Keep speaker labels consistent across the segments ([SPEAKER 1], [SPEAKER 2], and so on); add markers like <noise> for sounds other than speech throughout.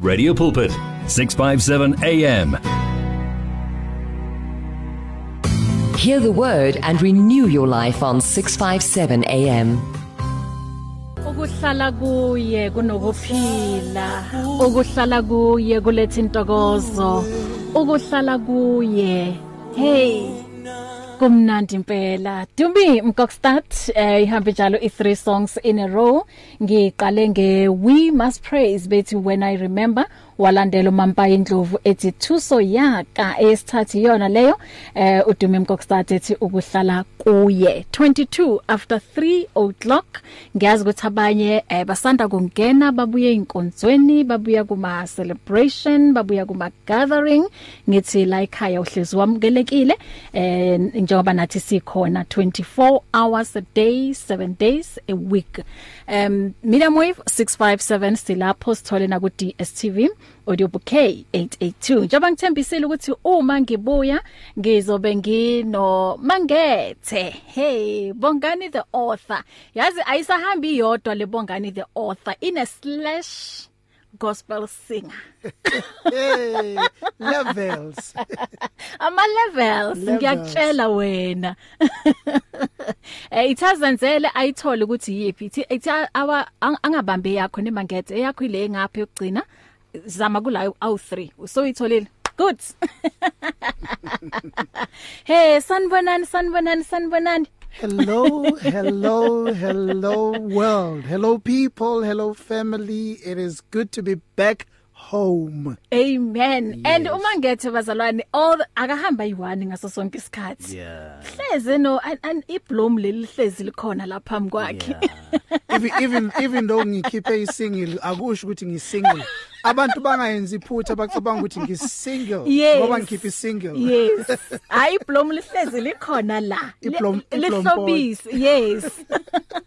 [SPEAKER 1] Radio Pulpit, 657 AM.
[SPEAKER 2] Hear the word and renew your life on 657 AM.
[SPEAKER 3] ukuhlala kuye kunokuphila ukuhlala kuye kuletha intokozo ukuhlala kuye hey kumnandi impela Dumi Mkokstad eh ihambe njalo i3 songs in a row ngiqale nge we must praise bethi when i remember walandela uMampaye Ndlovu ethi thuso yaka esithatha yona leyo eh uDumi Mkokstad ethi ukuhlala kuye 22 after 3 o'clock ngiyazi ukuthi abanye eh, basanda kungena babuye inkonzweni babuya kuma celebration babuya kuma gathering ngithi la ekhaya uhlezi wamukelekile eh njengoba nathi sikhona 24 hours a day 7 days a week um medium wave 657 silapho sithole na ku DSTV audio bouquet 882 njengoba ngithembisile ukuthi uma ngibuya ngizobe ngino mangethe hey bongani the author yazi ayisahambi yodwa le bongani the author in a slash gospel singer
[SPEAKER 4] Hey, levels.
[SPEAKER 3] ama levels
[SPEAKER 4] Levels.
[SPEAKER 3] ngiyakutshela wena <laughs> eh ithazenzele ayithole ukuthi yipi ithi ithi awa- ang- angabambe yakho nemangethe eyakho ile ngapha yokugcina zama kulayo awu3 so itholile good <laughs> hey sanbonani sanbonani sanbonani
[SPEAKER 4] Hello, hello, hello, world. Hello, people. Hello, family. It is good to be back home.
[SPEAKER 3] Amen. Yes. And uma ngethe bazalwane all akahamba yiwani ngaso sonke isikhathi.
[SPEAKER 4] Yeah.
[SPEAKER 3] Hleze no and- and iblom leli hlezi likhona lapha mkwakhe.
[SPEAKER 4] Even even even though ngikhiphe isingle, akusho ukuthi ngisingle. Abantu bangayenza iphutha bacabanga ukuthi ngisingle
[SPEAKER 3] Yes.
[SPEAKER 4] ngoba ngikhiphe isingle. <laughs>
[SPEAKER 3] Yes. Hayi iblom lihlezi likhona la.
[SPEAKER 4] Iblom-
[SPEAKER 3] Li-
[SPEAKER 4] iblom
[SPEAKER 3] lihlobisi. Yes.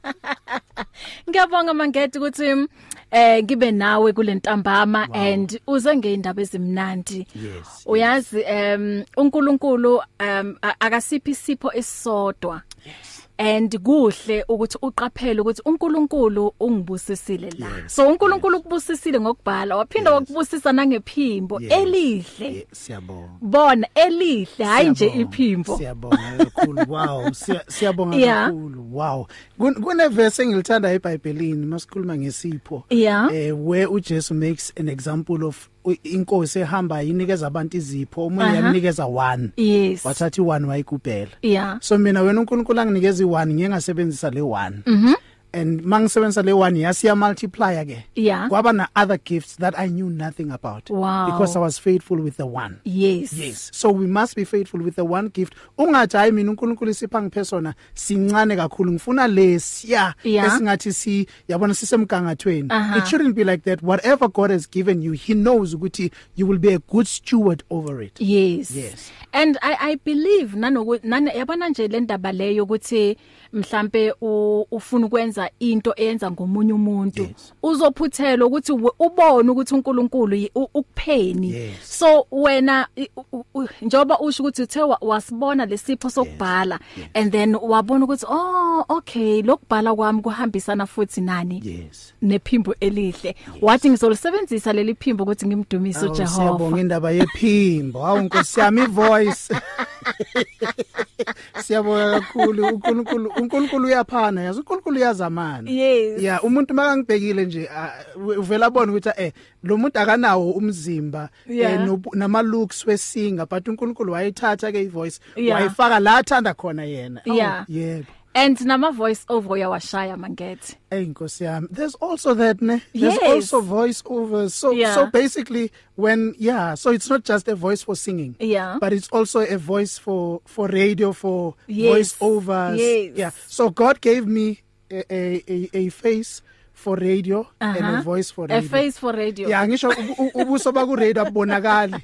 [SPEAKER 4] <laughs>
[SPEAKER 3] Ngiyabonga mangethi ukuthi eh ngibe nawe kulentambama and uze ngeindaba ezimnandi.
[SPEAKER 4] Yes,
[SPEAKER 3] Uyazi um uNkulunkulu um a- akasiphi isipho esisodwa. Yes. And kuhle ukuthi uqaphele ukuthi uNkulunkulu ungibusisile la. So uNkulunkulu kubusisile ngokubhala waphinda wakubusisa nangephimbo
[SPEAKER 4] Yes.
[SPEAKER 3] elihle.
[SPEAKER 4] Yeah, Siyabonga.
[SPEAKER 3] bona elihle hayi nje
[SPEAKER 4] Siyabonga.
[SPEAKER 3] iphimbo
[SPEAKER 4] Siyabonga
[SPEAKER 3] <laughs>
[SPEAKER 4] kakhulu. Wow. Siya- Siyabonga
[SPEAKER 3] Yeah.
[SPEAKER 4] kakhulu. Wow. Kun- Kuneverse engilithanda eBhayibhelini masikhuluma ngesipho.
[SPEAKER 3] Yeah.
[SPEAKER 4] Eh where uJesu makes an example of u- inkosi ehamba inikeza abantu izipho, omunye
[SPEAKER 3] Aha.
[SPEAKER 4] yamnikeza 1.
[SPEAKER 3] yes
[SPEAKER 4] Wathatha i1 wayigubhela.
[SPEAKER 3] yeah
[SPEAKER 4] So mina wena uNkulunkulu anginikeza i1 ngiyengasebenzisa le1. Mhm. And mangisebenzisa le1 yasiya multiplier ke.
[SPEAKER 3] Yeah.
[SPEAKER 4] Kwaba na other gifts that I knew nothing about
[SPEAKER 3] Wow.
[SPEAKER 4] because I was faithful with the one.
[SPEAKER 3] yes
[SPEAKER 4] Yes. So we must be faithful with the one gift. Ungathi hayi mina uNkulunkulu isipha ngiphesona sincane kakhulu ngifuna lesiya
[SPEAKER 3] Yeah.
[SPEAKER 4] esingathi si yabona sisemgangathweni.
[SPEAKER 3] Uh-huh.
[SPEAKER 4] It shouldn't be like that. Whatever God has given you, he knows ukuthi you will be a good steward over it.
[SPEAKER 3] yes
[SPEAKER 4] Yes.
[SPEAKER 3] and i i believe nanokuthi yabona nje le ndaba leyo ukuthi mhlambe u- ufuna ukwenza into eyenza ngomunye umuntu
[SPEAKER 4] Yes.
[SPEAKER 3] uzophuthelwa ukuthi we- ubone ukuthi uNkulunkulu yi- u- ukupheni
[SPEAKER 4] Yes.
[SPEAKER 3] so wena i- u- u- njengoba usho ukuthi uthe wa- wasibona lesipho sokubhala and then wabona ukuthi oh okay lokubhala kwami kuhambisana futhi nani
[SPEAKER 4] Yes.
[SPEAKER 3] nephimbo elihle wathi ngizolisebenzisa leli phimbo ukuthi ngimdumise uJehova
[SPEAKER 4] Ah, Siyabonga indaba yephimbo. Hawu Nkosi yami ivoice. <laughs> Siyabonga kakhulu uNkulunkulu. uNkulunkulu uyaphana, yazi uNkulunkulu uyazamana.
[SPEAKER 3] Yes.
[SPEAKER 4] Yeah, umuntu makangibhekile nje ah, u- uvela bona ukuthi eh lo muntu akanawo umzimba
[SPEAKER 3] Yeah.
[SPEAKER 4] eh, nobu- nama looks wesinga but uNkulunkulu wayithatha ke ivoice
[SPEAKER 3] Yeah.
[SPEAKER 4] wayifaka la athanda khona yena. Hawu,
[SPEAKER 3] Yeah.
[SPEAKER 4] Yebo.
[SPEAKER 3] and nama voice over uyawashaya mangethe
[SPEAKER 4] Hey Nkosi yami. There's also that ne. There's
[SPEAKER 3] Yes.
[SPEAKER 4] also voice over. So
[SPEAKER 3] Yeah.
[SPEAKER 4] so basically when yeah, so it's not just a voice for singing.
[SPEAKER 3] Yeah.
[SPEAKER 4] But it's also a voice for for radio for
[SPEAKER 3] Yes.
[SPEAKER 4] voice overs.
[SPEAKER 3] Yes.
[SPEAKER 4] Yeah. So God gave me a a a, a face for radio uh-huh. and
[SPEAKER 3] Uh-huh.
[SPEAKER 4] a voice for
[SPEAKER 3] a
[SPEAKER 4] radio.
[SPEAKER 3] face for radio <laughs>
[SPEAKER 4] Yeah, ngisho ubu- u- ubuso ba ku radio abonakali.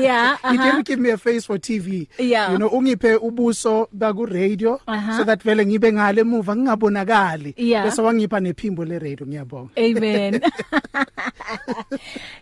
[SPEAKER 3] yeah
[SPEAKER 4] <laughs> You
[SPEAKER 3] uh-huh.
[SPEAKER 4] can give me a face for TV.
[SPEAKER 3] Yeah.
[SPEAKER 4] You know, ungiphe ubuso ba ku radio
[SPEAKER 3] Uh-huh.
[SPEAKER 4] so that vele ngibe ngale muva ngingabonakali.
[SPEAKER 3] Yeah.
[SPEAKER 4] Bese wangipha nephimbo le radio ngiyabonga.
[SPEAKER 3] amen <laughs>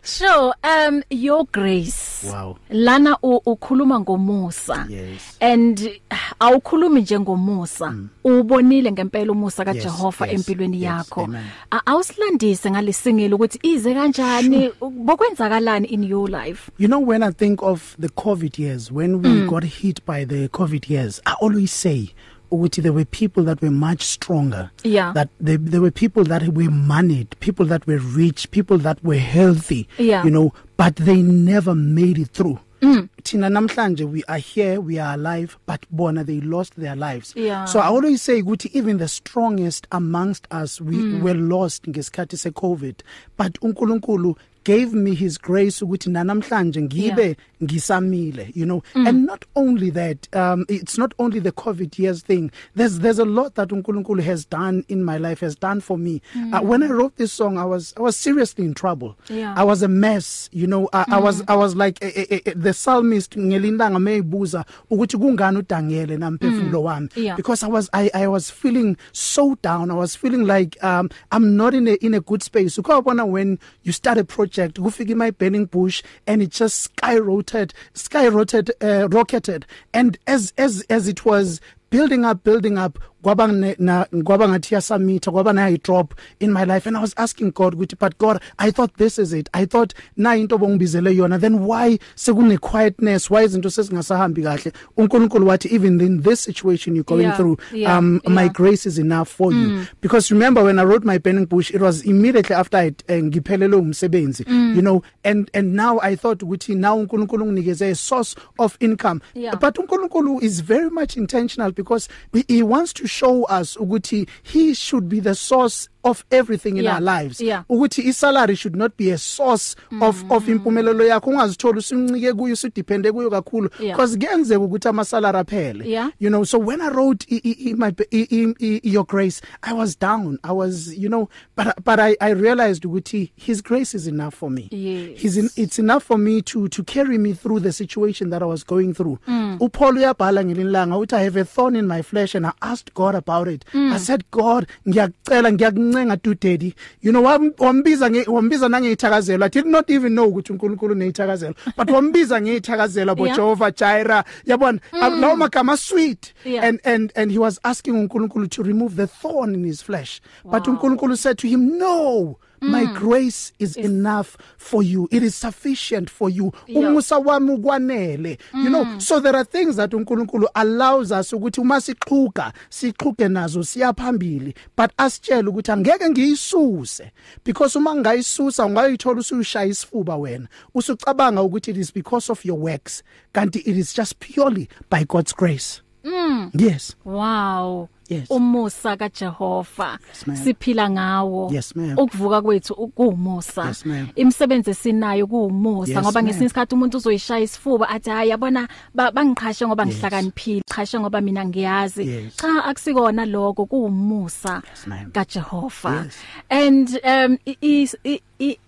[SPEAKER 3] so um your grace
[SPEAKER 4] Wow.
[SPEAKER 3] lana u- ukhuluma ngomusa
[SPEAKER 4] Yes. Mm.
[SPEAKER 3] and ah, awukhulumi njengomusa ubonile ngempela umusa
[SPEAKER 4] Yes,
[SPEAKER 3] kaJehova
[SPEAKER 4] yes,
[SPEAKER 3] empilweni
[SPEAKER 4] yes,
[SPEAKER 3] yakho
[SPEAKER 4] amen.
[SPEAKER 3] A- awusilandise ngalesingelo ukuthi ize kanjani bokwenzakalani in your life
[SPEAKER 4] You know, when I think of the COVID years, when we mm. got hit by the COVID years, I always say, Uguti, there were people that were much stronger.
[SPEAKER 3] Yeah.
[SPEAKER 4] That they, there were people that were moneyed, people that were rich, people that were healthy.
[SPEAKER 3] Yeah.
[SPEAKER 4] You know, but they never made it through. Mm. Tina namhlanje we are here we are alive but bona they lost their lives
[SPEAKER 3] Yeah.
[SPEAKER 4] so i always say ukuthi even the strongest amongst us we mm. were lost ngesikhathi se covid but uNkulunkulu gave me his grace ukuthi nanamhlanje ngibe ngisamile you know mm. and not only that um it's not only the covid years thing there's there's a lot that uNkulunkulu has done in my life has done for me mm. uh, when i wrote this song i was i was seriously in trouble
[SPEAKER 3] Yeah.
[SPEAKER 4] i was a mess you know i, mm. I was i was like eh, eh, eh, the psalmist ngelindanga mayibuza ukuthi kungani udangele namphefumulo wami
[SPEAKER 3] Yeah.
[SPEAKER 4] because I was I I was feeling so down. I was feeling like um I'm not in a in a good space. Ukubona when you start a project, kufika my burning bush and it just skyrocketed, skyrocketed, uh, rocketed. And as as as it was building up building up kwaba ne- na kwaba ngathi yasamitha kwaba na drop in my life and I was asking God ukuthi but God I thought this is it I thought na into bongibizele yona then why sekune quietness why izinto sesingasahambi kahle uNkulunkulu wathi even in this situation you going
[SPEAKER 3] Yeah,
[SPEAKER 4] through
[SPEAKER 3] yeah,
[SPEAKER 4] um
[SPEAKER 3] yeah.
[SPEAKER 4] my grace is enough for mm. you because remember when i wrote my burning bush it was immediately after i eh, ngiphelelwe umsebenzi
[SPEAKER 3] Mm.
[SPEAKER 4] you know and and now i thought ukuthi now uNkulunkulu unginikeze a source of income
[SPEAKER 3] Yeah.
[SPEAKER 4] but uNkulunkulu is very much intentional because he, he wants to show us ukuthi he should be the source of everything in
[SPEAKER 3] Yeah,
[SPEAKER 4] our lives
[SPEAKER 3] yeah. Mm.
[SPEAKER 4] ukuthi isalary should not be a source of of impumelelo yakho ungazithola usincike kuyo usidepende kuyo kakhulu
[SPEAKER 3] Yeah.
[SPEAKER 4] because kuyenzeka ukuthi amasalary aphele
[SPEAKER 3] Yeah.
[SPEAKER 4] you know so when i wrote I, I, I, my I, I, I, your grace i was down i was you know but but i i realized ukuthi his grace is enough for me
[SPEAKER 3] Yes.
[SPEAKER 4] he's in, it's enough for me to to carry me through the situation that i was going through upaul uyabhala ngelinlanga uthi i have a thorn in my flesh and i asked god about it mm. i said god ngiyakucela ngiyakuncenga to daddy you know wam- wambiza nge- wambiza nangeyithakazelo i did not even know ukuthi uNkulunkulu neyithakazelo but wambiza ngeyithakazelo bo
[SPEAKER 3] Yeah.
[SPEAKER 4] Jehovah Jireh yabona mm. lawo magama sweet
[SPEAKER 3] Yeah.
[SPEAKER 4] and and and he was asking uNkulunkulu to remove the thorn in his flesh wow. but uNkulunkulu said to him no My grace is it's, enough for you. It is sufficient for you.
[SPEAKER 3] Yeah.
[SPEAKER 4] Umusa wami ukwanele. You know, so there are things that uNkulunkulu allows us ukuthi uma sixhuka, sixhuke nazo siyaphambili, but asitshela ukuthi angeke ngiyisuse because uma ngayisusa ungayithola usuyishaya isifuba wena. Usucabanga ukuthi it is because of your works, kanti it is just purely by God's grace. Mm. Yes.
[SPEAKER 3] wow
[SPEAKER 4] Yes.
[SPEAKER 3] umusa kaJehova
[SPEAKER 4] Yes, ma'am.
[SPEAKER 3] siphila ngawo
[SPEAKER 4] Yes, ma'am.
[SPEAKER 3] ukuvuka kwethu u- kuwumusa
[SPEAKER 4] Yes, ma'am.
[SPEAKER 3] imisebenzi esinayo kuwumusa
[SPEAKER 4] Yes,
[SPEAKER 3] ngoba
[SPEAKER 4] ma'am.
[SPEAKER 3] ngesinye isikhathi umuntu uzoyishaya isifuba athi hayi yabona ba- bangiqhashe ngoba
[SPEAKER 4] Yes.
[SPEAKER 3] ngihlakaniphile qhashe ngoba mina ngiyazi
[SPEAKER 4] Yes.
[SPEAKER 3] cha akusikona lokho kuwumusa
[SPEAKER 4] Yes, ma'am.
[SPEAKER 3] kaJehova
[SPEAKER 4] Yes.
[SPEAKER 3] and um i- is i- i-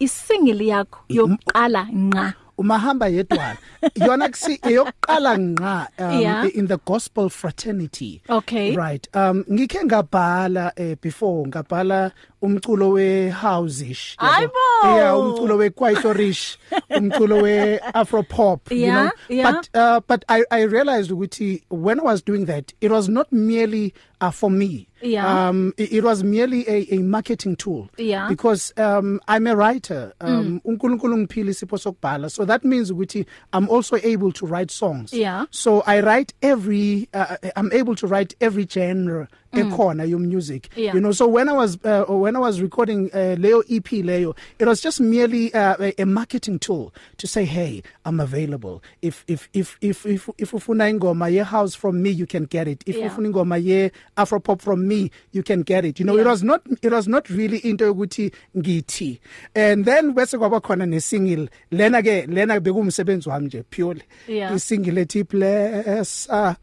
[SPEAKER 3] isingili yakho yokuqala nqa
[SPEAKER 4] umahamba yedwana yona kusi eyokuqala nqa um,
[SPEAKER 3] Yeah.
[SPEAKER 4] in the gospel fraternity
[SPEAKER 3] Okay.
[SPEAKER 4] right um ngikhe ngabhala eh, before ngabhala umculo we houseish
[SPEAKER 3] Ayi bo!
[SPEAKER 4] yeah umculo
[SPEAKER 3] <laughs>
[SPEAKER 4] we quietorish umculo we afro pop you
[SPEAKER 3] Yeah,
[SPEAKER 4] know
[SPEAKER 3] yeah.
[SPEAKER 4] but uh, but i i realized ukuthi when i was doing that it was not merely uh, for me
[SPEAKER 3] Yeah.
[SPEAKER 4] um it, it was merely a a marketing tool
[SPEAKER 3] Yeah.
[SPEAKER 4] because um I'm a writer
[SPEAKER 3] Mm.
[SPEAKER 4] um uNkulunkulu ngiphile isipho sokubhala so that means ukuthi I'm also able to write songs
[SPEAKER 3] Yeah.
[SPEAKER 4] so I write every uh, I'm able to write every genre mm. ekhona your music
[SPEAKER 3] Yeah.
[SPEAKER 4] you know so when I was uh, when I was recording uh, Leo EP Leo it was just merely uh, a- a marketing tool to say hey I'm available if if if if if, if ufuna ingoma ye house from me you can get it if
[SPEAKER 3] Yeah.
[SPEAKER 4] ufuna ingoma ye afro pop from me you can get it you know yeah. it was not it was not really into ukuthi ngithi and then bese kwaba khona ne single lena ke lena bekumsebenzi wami nje purely
[SPEAKER 3] Yeah.
[SPEAKER 4] isingle ethi blessa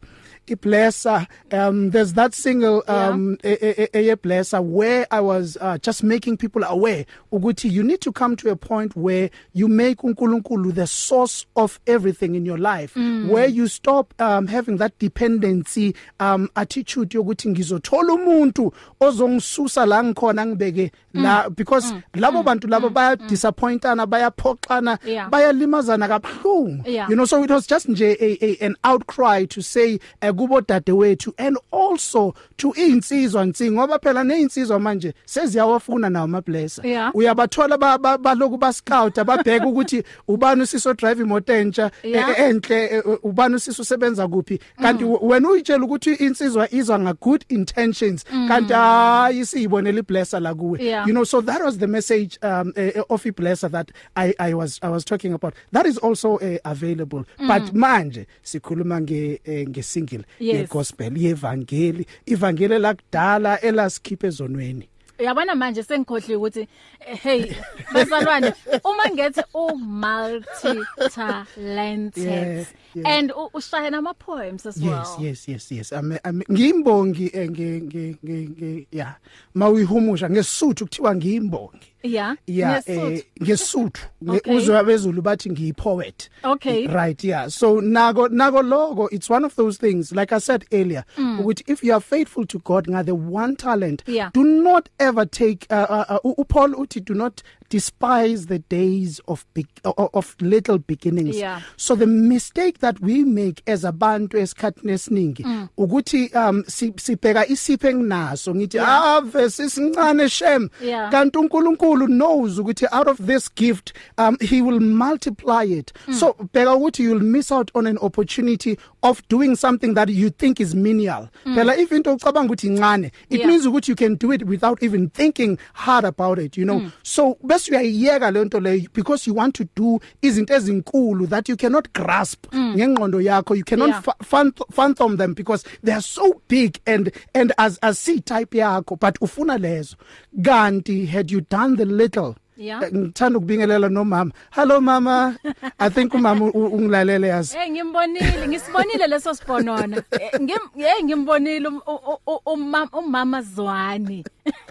[SPEAKER 4] iblessa um there's that single um eye blessa where i was uh, just making people aware ukuthi you need to come to a point where you make uNkulunkulu the source of everything in your life mm. where you stop um having that dependency um attitude yokuthi ngizothola umuntu ozongisusa la ngikhona ngibeke la
[SPEAKER 3] Mm.
[SPEAKER 4] because labo bantu labo baya disappointana bayaphoxana
[SPEAKER 3] Yeah.
[SPEAKER 4] bayalimazana kabuhlungu
[SPEAKER 3] Yeah.
[SPEAKER 4] you know so it was just nje a, a, an outcry to say uh, eh kubo dadewethu and also to insizwa nsi ngoba phela neinsizwa manje seziyawafuna nawo ama blesser
[SPEAKER 3] Yeah.
[SPEAKER 4] uyabathola ba- ba- baloku ba scout ababheka ukuthi ubani usiso drive imoto entsha e-
[SPEAKER 3] Yeah.
[SPEAKER 4] e- enhle e- u- ubani usiso usebenza kuphi kanti
[SPEAKER 3] Mm.
[SPEAKER 4] w- wena uyitshela ukuthi insizwa izwa nga good intentions kanti hayi siyibonela iblesser la kuwe
[SPEAKER 3] Mm. Yeah.
[SPEAKER 4] you know so that was the message um eh, eh, of iblesser that i i was i was talking about that is also uh, available
[SPEAKER 3] Mm.
[SPEAKER 4] but manje sikhuluma nge eh, nge single
[SPEAKER 3] Yes.
[SPEAKER 4] ye gospel yevangeli ivangeli lakudala elasikhiphe zonweni
[SPEAKER 3] uyabona manje sengikhohle ukuthi eh, hey bazalwane uma ngethe u multi talented
[SPEAKER 4] Yeah, yeah.
[SPEAKER 3] and u- ushaya nama poems as
[SPEAKER 4] yes
[SPEAKER 3] well
[SPEAKER 4] yes yes yes Ame- ame- ngimbongi eh, nge nge nge- nge yeah mawuyihumusha ngesuthu kuthiwa ngimbongi
[SPEAKER 3] yeah
[SPEAKER 4] yeah
[SPEAKER 3] Ngesuthu.
[SPEAKER 4] eh,
[SPEAKER 3] <laughs>
[SPEAKER 4] ngesuthu
[SPEAKER 3] Okay.
[SPEAKER 4] uzwe abezulu bathi ngiyipoet
[SPEAKER 3] Okay.
[SPEAKER 4] right yeah so nako nako logo it's one of those things like i said earlier ukuthi if you are faithful to god ngade one talent
[SPEAKER 3] Mm. Yeah.
[SPEAKER 4] do not ever take uh, uh, uh, u- Paul uthi do not despise the days of big, uh, of little beginnings
[SPEAKER 3] Yeah.
[SPEAKER 4] so the mistake that we make as abantu esikhatini esiningi
[SPEAKER 3] Mm.
[SPEAKER 4] ukuthi um si- sibheka isipho enginaso ngithi ah verse isincane shem
[SPEAKER 3] Yeah.
[SPEAKER 4] kanti uNkulunkulu knows ukuthi out of this gift um he will multiply it so bheka ukuthi you'll miss out on an opportunity of doing something that you think is menial phela if into ucabanga ukuthi incane it
[SPEAKER 3] Yeah.
[SPEAKER 4] means ukuthi you can do it without even thinking hard about it you know so bese uyayiyeka le nto leyo because you want to do izinto ezinkulu that you cannot grasp ngengqondo yakho you cannot
[SPEAKER 3] Yeah.
[SPEAKER 4] fa- phantom phantom them because they are so big and and as as C type yakho but ufuna lezo kanti had you done the little
[SPEAKER 3] Yeah.
[SPEAKER 4] Eh, ngithanda ukubingelela nomama hello mama i think umama u- u- ungilalele yazi
[SPEAKER 3] Hey ngimbonile ngisibonile leso sibonona Eh, ngim hey ngimbonile um- u- u- u- umama umama Zwani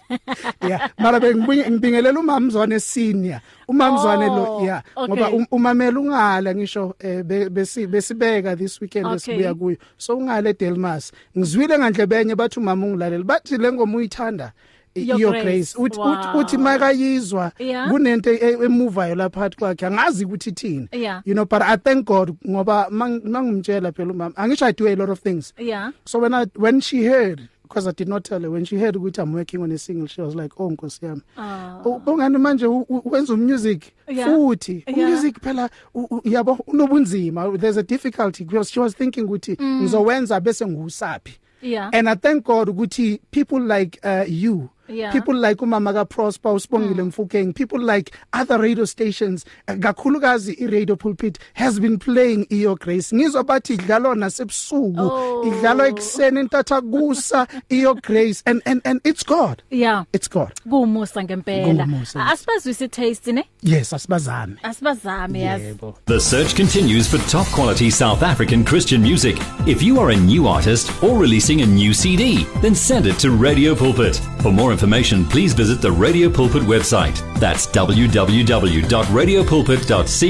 [SPEAKER 4] yeah mara bengibinge- ngibingelela umama Mzwane senior umama Mzwane
[SPEAKER 3] Oh,
[SPEAKER 4] lo yeah
[SPEAKER 3] okay.
[SPEAKER 4] ngoba um- umamela ungala ngisho eh, be- besi- besibeka this weekend
[SPEAKER 3] Okay.
[SPEAKER 4] esibuya kuyo so ungale Delmas ngizwile ngandle benye bathi umama ungilalela bathi lengoma uyithanda i-
[SPEAKER 3] Your
[SPEAKER 4] your
[SPEAKER 3] Grace.
[SPEAKER 4] grace uthi uthi-
[SPEAKER 3] Wow.
[SPEAKER 4] uthi makayizwa
[SPEAKER 3] Yeah.
[SPEAKER 4] kunento e- emuvayo lapha phakathi kwakhe angazi ukuthi
[SPEAKER 3] Yeah.
[SPEAKER 4] thini you know but i thank god ngoba mang- mangumtshela phela umama angisho i do a lot of things
[SPEAKER 3] yeah
[SPEAKER 4] So when I when she heard because I did not tell her when she heard ukuthi I'm working on a single she was like oh nkosi yami.
[SPEAKER 3] Ah.
[SPEAKER 4] Ubongani manje u- u- wenza music
[SPEAKER 3] Yeah.
[SPEAKER 4] futhi
[SPEAKER 3] Yeah.
[SPEAKER 4] music phela u- u- yabo unobunzima there's a difficulty because she was thinking ukuthi
[SPEAKER 3] Mm.
[SPEAKER 4] ngizowenza bese ngusaphi.
[SPEAKER 3] yeah
[SPEAKER 4] And I thank God ukuthi people like uh, you
[SPEAKER 3] Yeah. Mm.
[SPEAKER 4] people like umama ka Prosper usibongile mfukeng people like other radio stations eh, kakhulukazi i radio pulpit has been playing iyo grace ngizwa bathi idlalwa nasebusuku
[SPEAKER 3] Oh.
[SPEAKER 4] idlalwa ekseni intatha kusa iyo grace and and and it's God
[SPEAKER 3] yeah
[SPEAKER 4] it's God
[SPEAKER 3] kumusa ngempela
[SPEAKER 4] Kuwumusa.
[SPEAKER 3] asibazwisi taste ne
[SPEAKER 4] yes asibazame
[SPEAKER 3] asibazame yazi
[SPEAKER 1] The search continues for top quality South African Christian music. If you are a new artist or releasing a new CD, then send it to Radio Pulpit. For more information, please visit the Radio Pulpit website. That's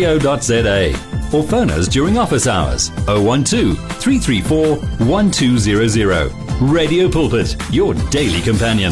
[SPEAKER 1] www.radiopulpit.co.za or phone us during office hours 012 334 1200. Radio Pulpit, your daily companion.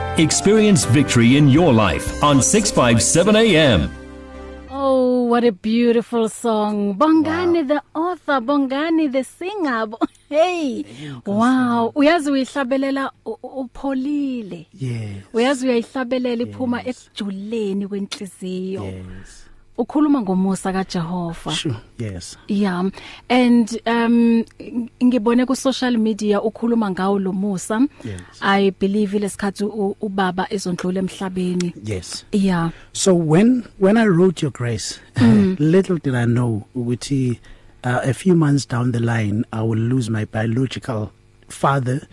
[SPEAKER 1] Experience victory in your life on 657 AM.
[SPEAKER 3] Oh, what a beautiful song. Bongani wow. the author, Bongani the singer. <laughs> Bo- Hey. Wow, uyazi uyihlabelela u- u- upholile.
[SPEAKER 4] yes
[SPEAKER 3] Uyazi uyayihlabelela iphuma ekujuleni kwenhliziyo. Ukhuluma ngomusa kaJehova.
[SPEAKER 4] sure yes
[SPEAKER 3] Yeah. And um ng- ngibone ku social media ukhuluma ngawo lo Musa.
[SPEAKER 4] Yes.
[SPEAKER 3] I believe lesikhathi u- ubaba ezondlula emhlabeni.
[SPEAKER 4] yes
[SPEAKER 3] Yeah.
[SPEAKER 4] So when when I wrote your grace, <laughs> little did I know ukuthi uh, a few months down the line I will lose my biological father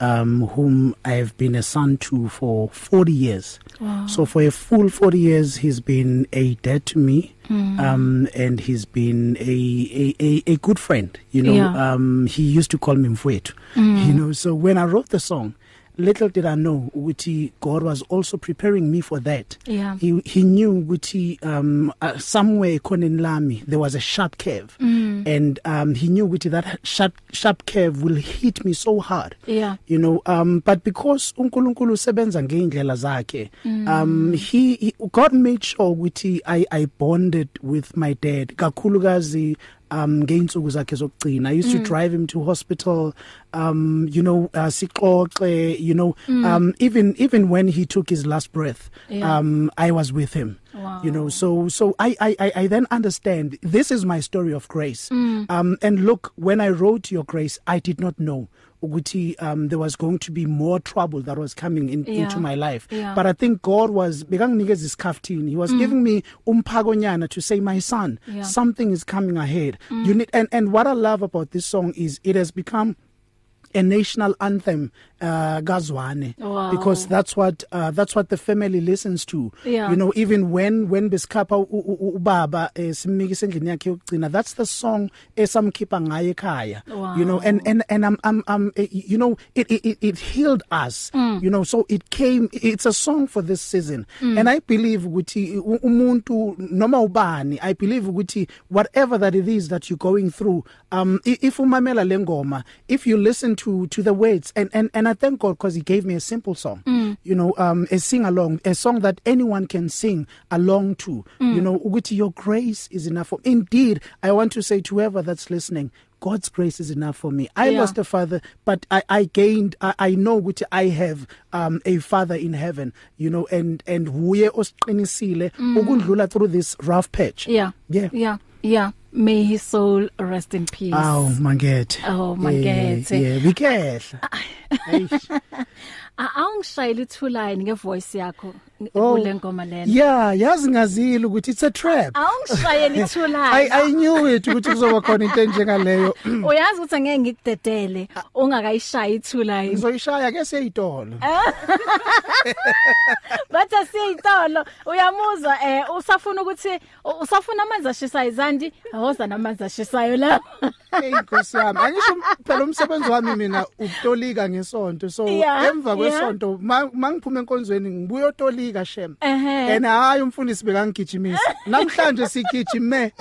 [SPEAKER 4] um whom I have been a son to for 40 years. Wow. So for a full 40 years he's been a dad to me mm. um and he's been a a a, a good friend, you know.
[SPEAKER 3] Yeah.
[SPEAKER 4] Um he used to call me mfowethu, mm. you know. So when I wrote the song little did I know ukuthi God was also preparing me for that.
[SPEAKER 3] Yeah.
[SPEAKER 4] He he knew ukuthi um uh, somewhere ekhoneni lami there was a sharp curve mm. and um he knew ukuthi that sharp sharp curve will hit me so hard.
[SPEAKER 3] Yeah.
[SPEAKER 4] You know um but because uNkulunkulu usebenza ngeindlela zakhe mm. um he, he God made sure ukuthi I I bonded with my dad kakhulukazi um ngeinsuku zakhe zokugcina i used mm. to drive him to hospital um you know uh, sixoxe you know mm. um even even when he took his last breath
[SPEAKER 3] Yeah.
[SPEAKER 4] um i was with him
[SPEAKER 3] Wow.
[SPEAKER 4] you know so so i i i I then understand this is my story of grace mm. um and look when i wrote your grace i did not know ukuthi um there was going to be more trouble that was coming in,
[SPEAKER 3] Yeah.
[SPEAKER 4] yeah. into my life
[SPEAKER 3] Yeah.
[SPEAKER 4] but i think god was bekanginikeza isikhaftini he was mm. giving me umphakonyana to say my son
[SPEAKER 3] Yeah.
[SPEAKER 4] something is coming ahead mm. you need and and what i love about this song is it has become a national anthem uh gazwane
[SPEAKER 3] Wow.
[SPEAKER 4] because that's what uh, that's what the family listens to
[SPEAKER 3] Yeah.
[SPEAKER 4] you know even when when besikhapha u- u- u- ubaba eh, simikise endlini yakhe yokugcina that's the song esamkhipha ngaye ekhaya
[SPEAKER 3] Wow.
[SPEAKER 4] you know and and and I'm I'm I'm eh, you know it it, it- it healed us mm. you know so it came it's a song for this season mm. and I believe ukuthi u- umuntu noma ubani I believe ukuthi whatever that it is that you're going through um i- if umamela lengoma if you listen to to the words and and and I thank God because he gave me a simple song mm. you know um a sing along a song that anyone can sing along to mm. you know ukuthi your grace is enough for indeed I want to say to whoever that's listening God's grace is enough for me. I
[SPEAKER 3] Yeah.
[SPEAKER 4] yeah. lost a father, but I I gained I, I know which I have um a father in heaven, you know, and and wuye osiqinisile
[SPEAKER 3] Mm.
[SPEAKER 4] ukundlula through this rough patch.
[SPEAKER 3] Yeah.
[SPEAKER 4] Yeah.
[SPEAKER 3] Yeah. Yeah. May his soul rest in peace.
[SPEAKER 4] Aw mangethe.
[SPEAKER 3] Awu, Oh, mangethe. Ah,
[SPEAKER 4] Yeah, bikehla. Eish.
[SPEAKER 3] A- Awungishayela ithulani ngevoice yakho n-
[SPEAKER 4] Oh.
[SPEAKER 3] kule ngoma Ah, lena.
[SPEAKER 4] Yeah, yazi ngazile ukuthi it's a trap.
[SPEAKER 3] Awungishayela
[SPEAKER 4] <laughs> I
[SPEAKER 3] ithulani.
[SPEAKER 4] I knew it ukuthi kuzoba khona into
[SPEAKER 3] <laughs>
[SPEAKER 4] enjengaleyo.
[SPEAKER 3] Uyazi ukuthi angeke ngikudedele ungakayishaya ithulani.
[SPEAKER 4] Ngizoyishaya ke seyidolo.
[SPEAKER 3] Bathi asiyitolo uyamuzwa eh usafuna ukuthi u- usafuna amanzi ashisa izandi awoza namanzi ashisayo la.
[SPEAKER 4] Hey Nkosi yami, angisho um-, phela umsebenzi wami mina ukutolika ngesonto. So
[SPEAKER 3] Yeah,
[SPEAKER 4] emva kwesonto mangiphuma enkonzweni ngibuye otolika shem.
[SPEAKER 3] Ehhe.
[SPEAKER 4] And hayi umfundisi bekangigijimisa. Namhlanje sigijime.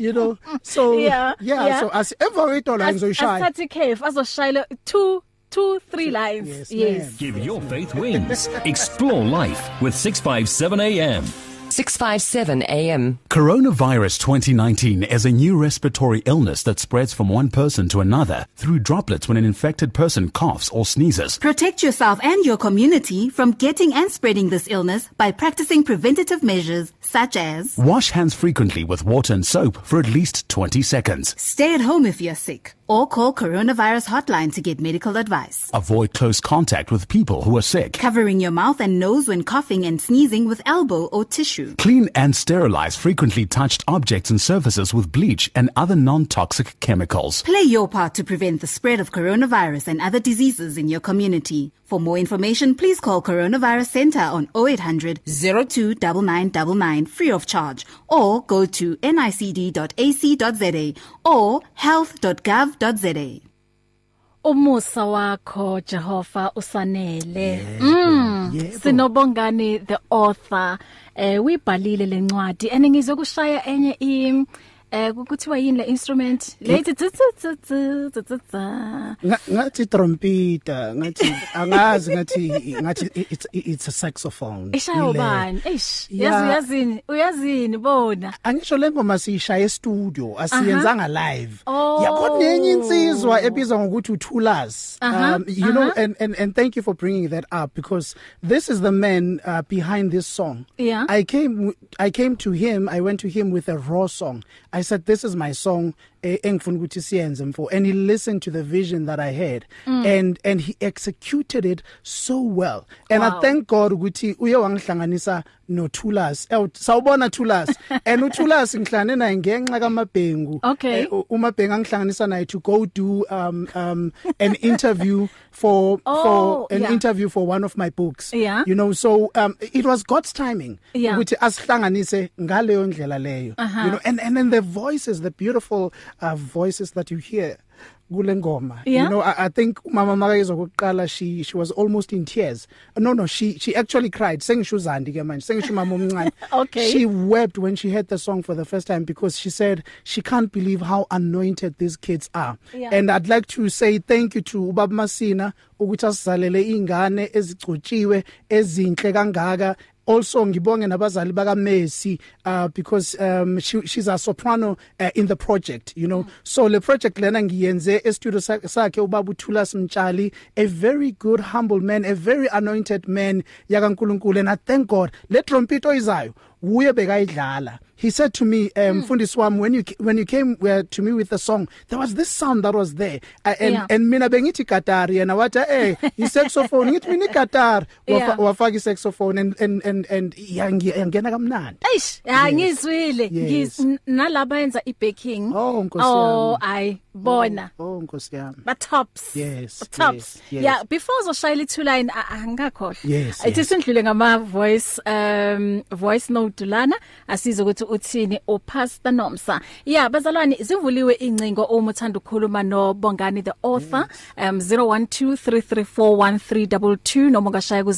[SPEAKER 4] <laughs> You know. So
[SPEAKER 3] Yeah, yeah.
[SPEAKER 4] yeah, yeah. so as emva kwedolo ngizoyishaya.
[SPEAKER 3] Asithathe ikhefu azoshayela 2 2 3 lines.
[SPEAKER 4] Yes,
[SPEAKER 3] Yes.
[SPEAKER 4] ma'am.
[SPEAKER 1] Give your faith wings. Explore life with 657 AM.
[SPEAKER 2] 657 AM.
[SPEAKER 5] Coronavirus 2019 is a new respiratory illness that spreads from one person to another through droplets when an infected person coughs or sneezes.
[SPEAKER 6] Protect yourself and your community from getting and spreading this illness by practicing preventative measures such as
[SPEAKER 5] Wash hands frequently with water and soap for at least 20 seconds.
[SPEAKER 6] stay at home if you're sick or call coronavirus hotline to get medical advice.
[SPEAKER 5] Avoid close contact with people who are sick.
[SPEAKER 6] Covering your mouth and nose when coughing and sneezing with elbow or tissue.
[SPEAKER 5] Clean and sterilize frequently touched objects and surfaces with bleach and other non-toxic chemicals.
[SPEAKER 6] Play your part to prevent the spread of coronavirus and other diseases in your community. For more information, please call Coronavirus Center on 0800 029999 free of charge or go to nicd.ac.za or health.gov.za.
[SPEAKER 3] umusa wakho Jehova usanele mm sinobongani the author eh uyibhalile lencwadi and ngizwe kushaya enye i eh kuthiwa yini le instrument late tsitsitsitsitsa
[SPEAKER 4] Nga- Ngathi trompeta, ngathi angazi ngathi ngathi it's it's a saxophone.
[SPEAKER 3] ishaya
[SPEAKER 4] Ile-
[SPEAKER 3] ubani eish
[SPEAKER 4] Yeah.
[SPEAKER 3] yazi yazini uyazini bona
[SPEAKER 4] angisho lengoma siyishaya e-studio asiyenzanga live
[SPEAKER 3] Oh.
[SPEAKER 4] yakhona nenye insizwa ebizwa ngokuthi uThulas
[SPEAKER 3] Uh-huh.
[SPEAKER 4] um you know and and and thank you for bringing that up because this is the man uh, behind this song
[SPEAKER 3] Yeah.
[SPEAKER 4] i came w- i came to him i went to him with a raw song i said this is my song eh, engifuna ukuthi siyenze mfo and he listened to the vision that i had mm. and and he executed it so well and
[SPEAKER 3] Wow.
[SPEAKER 4] i thank thank God ukuthi uye wangihlanganisa noThulas. Eh, Sawubona
[SPEAKER 3] <laughs>
[SPEAKER 4] Thulas. And uThulas ngihlane naye ngenxa kaMabhengu.
[SPEAKER 3] Okay.
[SPEAKER 4] Eh, u- uMabhengu angihlanganisa naye to go do um um an
[SPEAKER 3] <laughs>
[SPEAKER 4] interview for
[SPEAKER 3] Oh,
[SPEAKER 4] for an
[SPEAKER 3] yeah.
[SPEAKER 4] interview for one of my books.
[SPEAKER 3] Yeah.
[SPEAKER 4] You know, so um it was God's timing
[SPEAKER 3] Yeah. Uh-huh.
[SPEAKER 4] ukuthi asihlanganise ngaleyo ndlela leyo. You know, and and then the voices, the beautiful uh, voices that you hear. kule ngoma
[SPEAKER 3] Yeah.
[SPEAKER 4] you know I, i think umama makayizwa kokuqala she she was almost in tears no no she she actually cried sengishuzandi ke manje sengisho
[SPEAKER 3] <laughs>
[SPEAKER 4] mama omncane
[SPEAKER 3] Okay.
[SPEAKER 4] she wept when she heard the song for the first time because she said she can't believe how anointed these kids are
[SPEAKER 3] Yeah.
[SPEAKER 4] and i'd like to say thank you to ubaba masina ukuthi asizalele ingane ezigcotshiwe ezinhle kangaka also ngibonge nabazali baka Messi uh because um she, she's a soprano uh, in the project you know mm. so le project lena ngiyenze e studio sa- sakhe ubaba uthula simtshali a very good humble man a very anointed man yakaNkuluNkulu and I thank God le trompito izayo uye bekayidlala he said to me um mm. mfundisi wami when you ca- when you came uh, to me with the song there was this sound that was there uh, and
[SPEAKER 3] Yeah.
[SPEAKER 4] yeah. and mina bengithi guitar yena wathi eh i saxophone ngithi mina i guitar
[SPEAKER 3] Yeah.
[SPEAKER 4] wafa wafaka i saxophone and and and and yangena kamnandi
[SPEAKER 3] Eish, hayi ngizwile.
[SPEAKER 4] Yes.
[SPEAKER 3] Ngiz- nalaba yenza ibaking.
[SPEAKER 4] Oh, Nkosi
[SPEAKER 3] Oh,
[SPEAKER 4] yami.
[SPEAKER 3] ay bona.
[SPEAKER 4] oh nkosi yami
[SPEAKER 3] Ba tops.
[SPEAKER 4] Yes,
[SPEAKER 3] Ba Tops.
[SPEAKER 4] yes, yes.
[SPEAKER 3] Yeah, before uzoshayela i2 line a- angakhohle.
[SPEAKER 4] Yes,
[SPEAKER 3] Ithi
[SPEAKER 4] yes.
[SPEAKER 3] sindlule ngama voice um voice note lana asize ukuthi uthini o Pastor Nomsa. Yeah, bazalwane zivuliwe incingo uma uthanda ukukhuluma no Bongani the author um 0123341322 noma ungashaya ku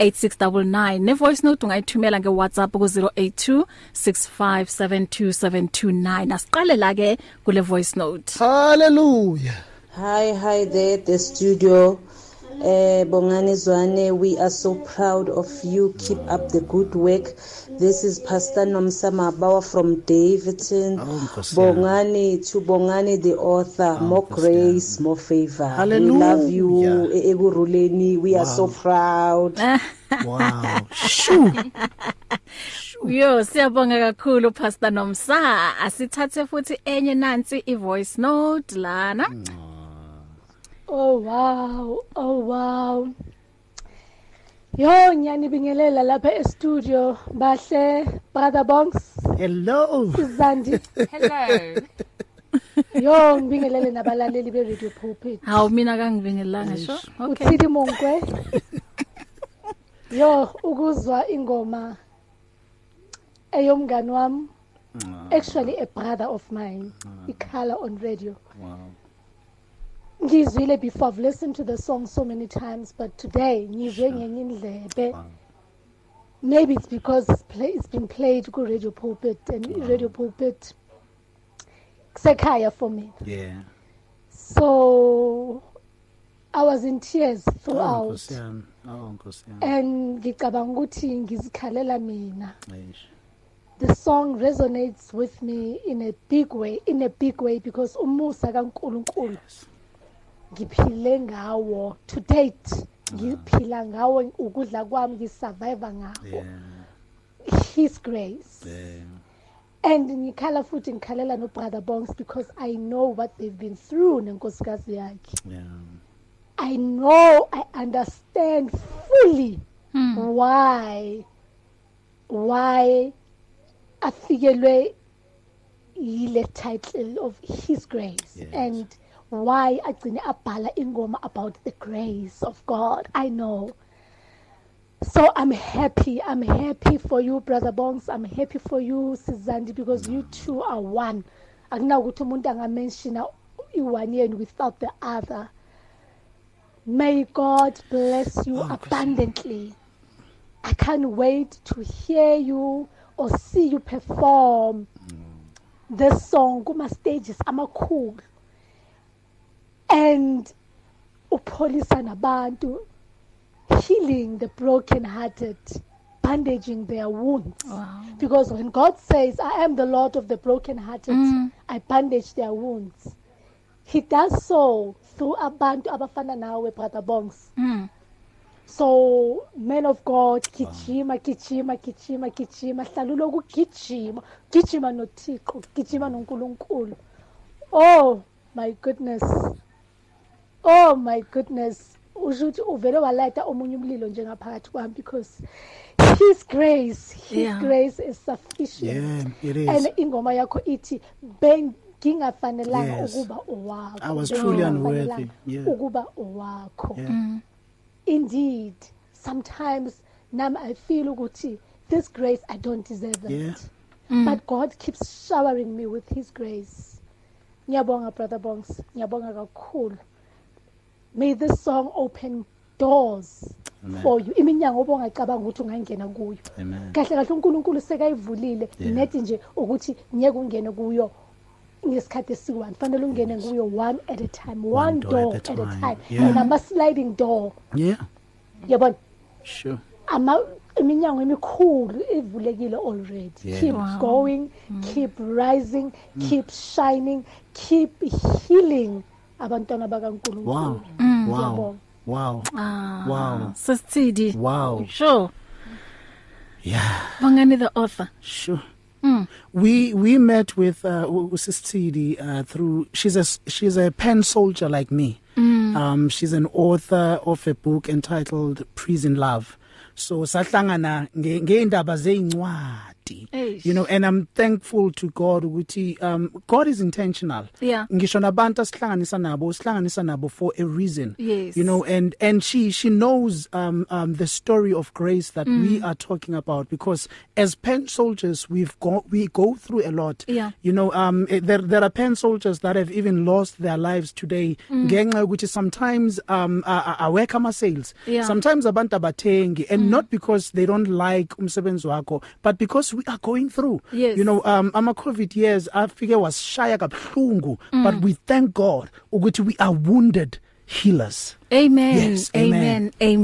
[SPEAKER 3] 0123338699. Ne voice note ungayithumela nge WhatsApp ku 0826572729. Asiqale la ke kule voice note.
[SPEAKER 4] hallelujah
[SPEAKER 7] Hi, hi there, the studio. Uh, Bongani Zwane, we are so proud of you. Keep up the good work. This is Pastor Nomsa Mabawa from Davidson.
[SPEAKER 4] Oh, Nkosi yami.
[SPEAKER 7] Bongani to Bongani, the author. Oh, more grace, more favor. We
[SPEAKER 4] Hallelujah.
[SPEAKER 7] love you. E- Eburuleni, we wow. are so proud.
[SPEAKER 4] wow shoo
[SPEAKER 3] Yo siyabonga kakhulu Pastor Nomsa asithathe futhi enye nansi ivoice note lana
[SPEAKER 4] Mm.
[SPEAKER 8] Oh wow, oh wow. Yo nyani bingelela lapha e-studio bahle brother Bongs
[SPEAKER 4] hello
[SPEAKER 8] Zandi.
[SPEAKER 9] Hello.
[SPEAKER 8] Yo ngibingelele nabalaleli be-radio pulpit.
[SPEAKER 3] hawu mina kangibingelanga sho okay
[SPEAKER 8] Uthidi Mongwe. Yo ukuzwa ingoma eyomngani wami actually a brother of mine ikhala on radio. ngizwile before i've listened to the song so many times but today ngizwe ngenye indlebe maybe it's because it's, play, it's been played ku-radio pulpit and i-radio pulpit kusekhaya for mina
[SPEAKER 4] yeah
[SPEAKER 8] so i was in tears
[SPEAKER 4] oh
[SPEAKER 8] throughout
[SPEAKER 4] nkosi yami oh nkosi yami
[SPEAKER 8] and ngicabanga ukuthi ngizikhalela mina
[SPEAKER 4] Eish.
[SPEAKER 8] the song resonates with me in a big way in a big way because umusa kaNkuluNkulu ngiphile ngawo to date ngiphila ngawo ukudla kwami ngisurvive ngawo his grace and ngikhala futhi ngikhalela nobrother Bongs because i know what they've been through nenkosikazi yakhe
[SPEAKER 4] yeah
[SPEAKER 8] I know I understand fully why why afikelwe yile title of his grace
[SPEAKER 4] Yes.
[SPEAKER 8] and why agcine abhala ingoma about the grace of God I know so I'm happy I'm happy for you brother Bongs I'm happy for you Sizandi because you two are one akunakuthi umuntu angamention i-one yenu without the other May God bless you abundantly. I can't wait to hear you or see you perform this song kuma stages amakhulu. And upholisa nabantu healing the broken hearted bandaging their wounds wow. because when God says I am the Lord of the broken hearted I bandage their wounds he does so through abantu abafana nawe brother bongs mm. so man of god gijima gijima gijima gijima hlala uloku gijima gijima nothixo gijima nonkulunkulu oh my goodness oh my goodness usho ukuthi uvele walayita omunye umlilo njengaphakathi kwami because his grace his
[SPEAKER 3] Yeah.
[SPEAKER 8] yeah. grace is sufficient
[SPEAKER 4] Yeah, it is.
[SPEAKER 8] and ingoma yakho ithi bengingafanelanga
[SPEAKER 4] Yes.
[SPEAKER 8] ukuba owakho
[SPEAKER 4] I was truly
[SPEAKER 8] Bengingafanelanga
[SPEAKER 4] unworthy, yeah.
[SPEAKER 8] ukuba owakho
[SPEAKER 4] Yeah.
[SPEAKER 8] Mm. indeed sometimes nami i feel ukuthi this grace i don't deserve it Mm.
[SPEAKER 4] Yeah.
[SPEAKER 8] but god keeps showering me with his grace Ngiyabonga brother Bongs. Ngiyabonga kakhulu. May this song open doors
[SPEAKER 9] Amen.
[SPEAKER 8] for you. Iminyango obongacabanga ukuthi ungangena kuyo.
[SPEAKER 9] Amen.
[SPEAKER 8] Kahle kahle uNkulunkulu sekayivulile
[SPEAKER 9] Yeah.
[SPEAKER 8] nethi nje ukuthi ngeke ungene kuyo ngesikhathi esiyi-one fanele ungene kuyo one at a time one,
[SPEAKER 9] One
[SPEAKER 8] door at a time,
[SPEAKER 9] Yeah.
[SPEAKER 8] and ama-sliding door
[SPEAKER 4] Yeah.
[SPEAKER 8] yabona
[SPEAKER 9] Sure.
[SPEAKER 8] ama iminyango emikhulu ivulekile already
[SPEAKER 9] Yeah. Mm.
[SPEAKER 8] keep
[SPEAKER 3] Wow.
[SPEAKER 8] going keep rising keep shining keep healing abantwana bakaNkulunkulu
[SPEAKER 9] Wow. Wow. Wow. Wow.
[SPEAKER 3] sesithidi
[SPEAKER 9] Wow.
[SPEAKER 3] sure
[SPEAKER 9] Yeah.
[SPEAKER 3] bangani the author
[SPEAKER 4] Sure. We we met with uh, Sistidi uh, through she's a she's a pen soldier like me. Um, she's an author of a book entitled Prison Love. So sahlangana nge- ngeindaba zeincwadi.
[SPEAKER 3] Eish.
[SPEAKER 4] You know, and I'm thankful to God ukuthi um God is intentional.
[SPEAKER 3] Yeah.
[SPEAKER 4] Ngisho nabantu asihlanganisa nabo, sihlanganisa nabo for a reason.
[SPEAKER 3] Yes.
[SPEAKER 4] You know, and and she she knows um um the story of grace that mm. we are talking about because as pen soldiers we've go we go through a lot
[SPEAKER 3] Yeah.
[SPEAKER 4] you know um eh, there there are pen soldiers that have even lost their lives today ngenxa mm. ukuthi sometimes um awake ama sales
[SPEAKER 3] Yeah.
[SPEAKER 4] sometimes abantu abathengi and mm. not because they don't like umsebenzi wakho but because we are going through
[SPEAKER 3] Yes.
[SPEAKER 4] you know um ama covid years afike wasishaya kabhlungu mm. but we thank God ukuthi we are wounded healers
[SPEAKER 3] Amen.
[SPEAKER 4] Yes,
[SPEAKER 3] amen.
[SPEAKER 4] amen.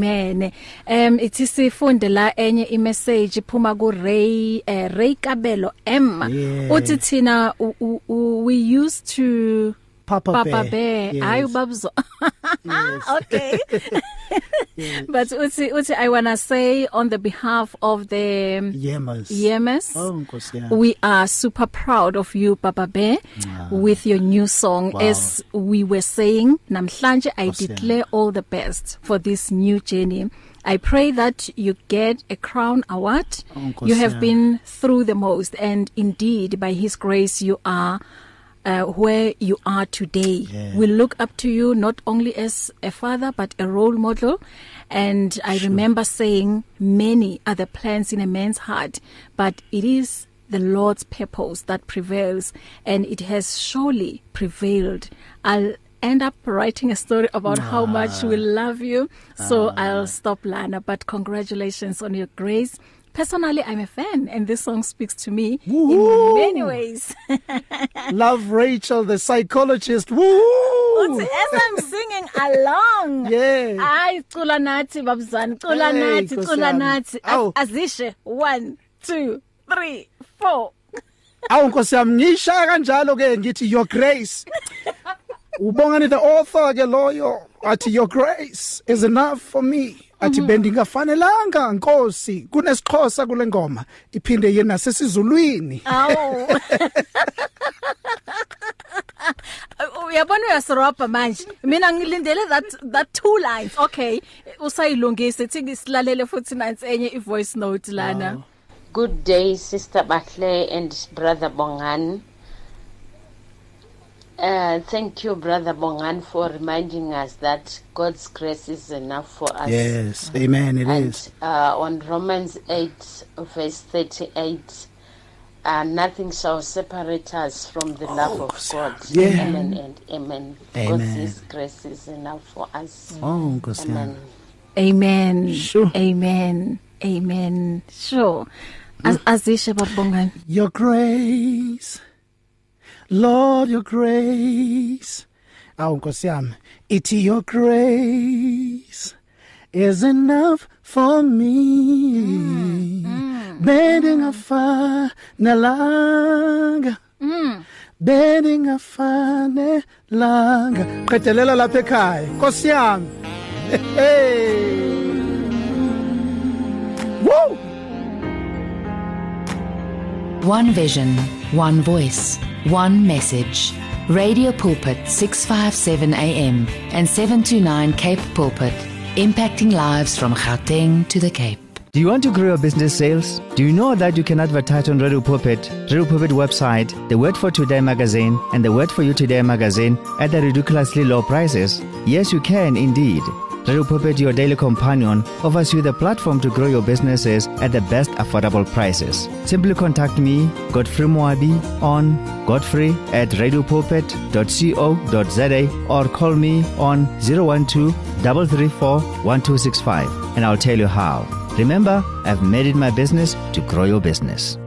[SPEAKER 3] Amen. Um ithi sifunde la enye i-message iphuma ku Ray uh, Ray Kabelo M.
[SPEAKER 4] Yeah.
[SPEAKER 3] Uthi thina u- u- u- we used to
[SPEAKER 4] Papa,
[SPEAKER 3] Papa
[SPEAKER 4] Bear.
[SPEAKER 3] Bear
[SPEAKER 4] Yes.
[SPEAKER 3] ayu babzo. <laughs>
[SPEAKER 4] <laughs>
[SPEAKER 3] Okay. But uthi uthi I want to say on the behalf of the um,
[SPEAKER 4] Yemas.
[SPEAKER 3] Yemes
[SPEAKER 4] Oh, Nkosi yami.
[SPEAKER 3] E We are super proud of you Papa Bear with your new song
[SPEAKER 9] Wow.
[SPEAKER 3] as we were saying namhlanje I
[SPEAKER 9] Nkosi yami.
[SPEAKER 3] declare all the best for this new journey. I pray that you get a crown award.
[SPEAKER 4] Oh, Nkosi
[SPEAKER 3] You have
[SPEAKER 4] yami.
[SPEAKER 3] been through the most and indeed by his grace you are uh, where you are today.
[SPEAKER 9] Yeah.
[SPEAKER 3] We look up to you not only as a father but a role model and I sure. remember saying many are the plans in a man's heart but it is the Lord's purpose that prevails and it has surely prevailed. I'll end up writing a story about ah. how much we love you so ah. I'll stop Lana but congratulations on your grace. Personally I'm a fan and this song speaks to me Woo-hoo. in
[SPEAKER 4] Woohoo!
[SPEAKER 3] many ways.
[SPEAKER 4] Love Rachel the psychologist. Woo!
[SPEAKER 3] uthi as
[SPEAKER 4] <laughs>
[SPEAKER 3] I'm singing along
[SPEAKER 4] Yeah.
[SPEAKER 3] ay cula nathi babuzani cula
[SPEAKER 4] Hey,
[SPEAKER 3] nathi
[SPEAKER 4] Nkosi
[SPEAKER 3] cula
[SPEAKER 4] yami.
[SPEAKER 3] nathi
[SPEAKER 4] Awu.
[SPEAKER 3] Az- azishe 1 2 3 4
[SPEAKER 4] Awu Nkosi yami ngisha kanjalo ke ngithi your grace. Ubongani the author ke loyo athi your grace is enough for me. Athi bendingafanelanga Nkosi kunesixhosa kule ngoma iphinde yena sesizulwini. <laughs>
[SPEAKER 3] awu uyabona uyasirobha manje mina ngilindele that that two lines okay usayilungise thi silalele futhi nansi enye ivoice note lana
[SPEAKER 10] Good day, Sister Batley and Brother Bongan. Uh, thank you, Brother Bongan, for reminding us that God's grace is enough for us.
[SPEAKER 4] Yes, amen it
[SPEAKER 10] and
[SPEAKER 4] is.
[SPEAKER 10] Uh, on Romans 8, verse 38, uh, nothing shall separate us from the love of God.
[SPEAKER 4] Oh, Yeah.
[SPEAKER 10] Amen and amen.
[SPEAKER 4] Amen.
[SPEAKER 10] God's grace is enough for us.
[SPEAKER 4] Oh Nkosi
[SPEAKER 10] Amen.
[SPEAKER 4] yami.
[SPEAKER 3] amen
[SPEAKER 4] Sure.
[SPEAKER 3] amen amen sure Az-
[SPEAKER 4] Mm.
[SPEAKER 3] azishe babongani
[SPEAKER 4] Your grace, Lord, your grace. Awu Nkosi yami, ithi your grace is enough for me. Bending afa nalanga. Bending afa nalanga. Qedelela lapha ekhaya. Nkosi yami. <laughs> Hey. Woo!
[SPEAKER 2] One vision, one voice, one message. Radio Pulpit 657 AM and 729 Cape Pulpit, impacting lives from Gauteng to the Cape.
[SPEAKER 11] Do you want to grow your business sales? Do you know that you can advertise on Radio Pulpit, Radio Pulpit website, The Word for Today magazine, and The Word for You Today magazine at the ridiculously low prices? Yes, you can indeed. Radio Puppet, your daily companion, offers you the platform to grow your businesses at the best affordable prices. Simply contact me, Godfrey Moabi, on godfrey at radiopuppet.co.za or call me on 012 334 1265 and I'll tell you how. Remember, I've made it my business to grow your business.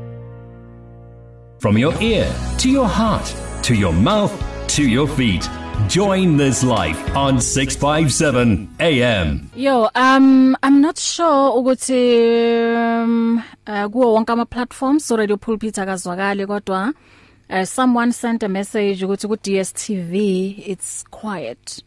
[SPEAKER 1] From your ear to your heart to your mouth to your feet. Join this life on 657 AM.
[SPEAKER 3] Yo, um I'm not sure ukuthi um uh, kuwo wonke ama platforms so radio pulpit akazwakali kodwa uh, someone sent a message ukuthi ku DSTV it's quiet.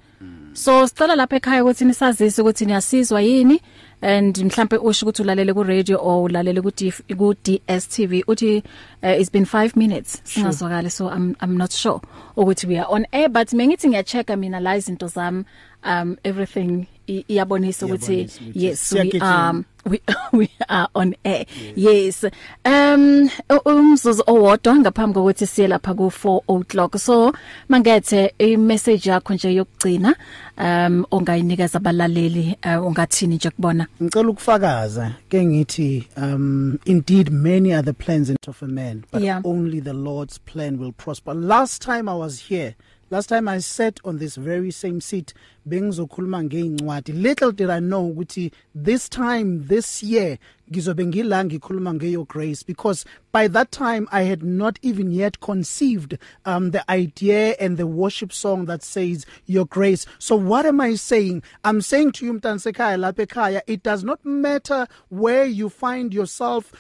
[SPEAKER 3] So sicela lapha ekhaya ukuthi nisazise ukuthi niyasizwa yini and mhlambe usho ukuthi ulalele ku radio or ulalele ku DF ku DSTV uthi uh, it's been 5 minutes singazwakali so I'm I'm not sure ukuthi we are on air but mengithi ngiyachecka mina la izinto zami um everything i- iyabonisa ukuthi
[SPEAKER 12] Iyabonisa ukuthi
[SPEAKER 3] yes we
[SPEAKER 12] siyagijima.
[SPEAKER 3] um we <laughs> we are on air yes, yes. um u- umzuzu owodwa ngaphambi kokuthi siye lapha ku 4 o'clock so mangethe i message yakho nje yokugcina um ongayinikeza abalaleli uh, ungathini nje kubona
[SPEAKER 4] ngicela ukufakaza ke ngithi um indeed many are the plans of a man but
[SPEAKER 3] Yeah.
[SPEAKER 4] only the lord's plan will prosper last time i was here last time i sat on this very same seat bengizokhuluma ngeincwadi little did i know ukuthi this time this year ngizobe ngila ngikhuluma ngeyo grace because by that time i had not even yet conceived um the idea and the worship song that says your grace so what am i saying i'm saying to you mtansekhaya lapha ekhaya it does not matter where you find yourself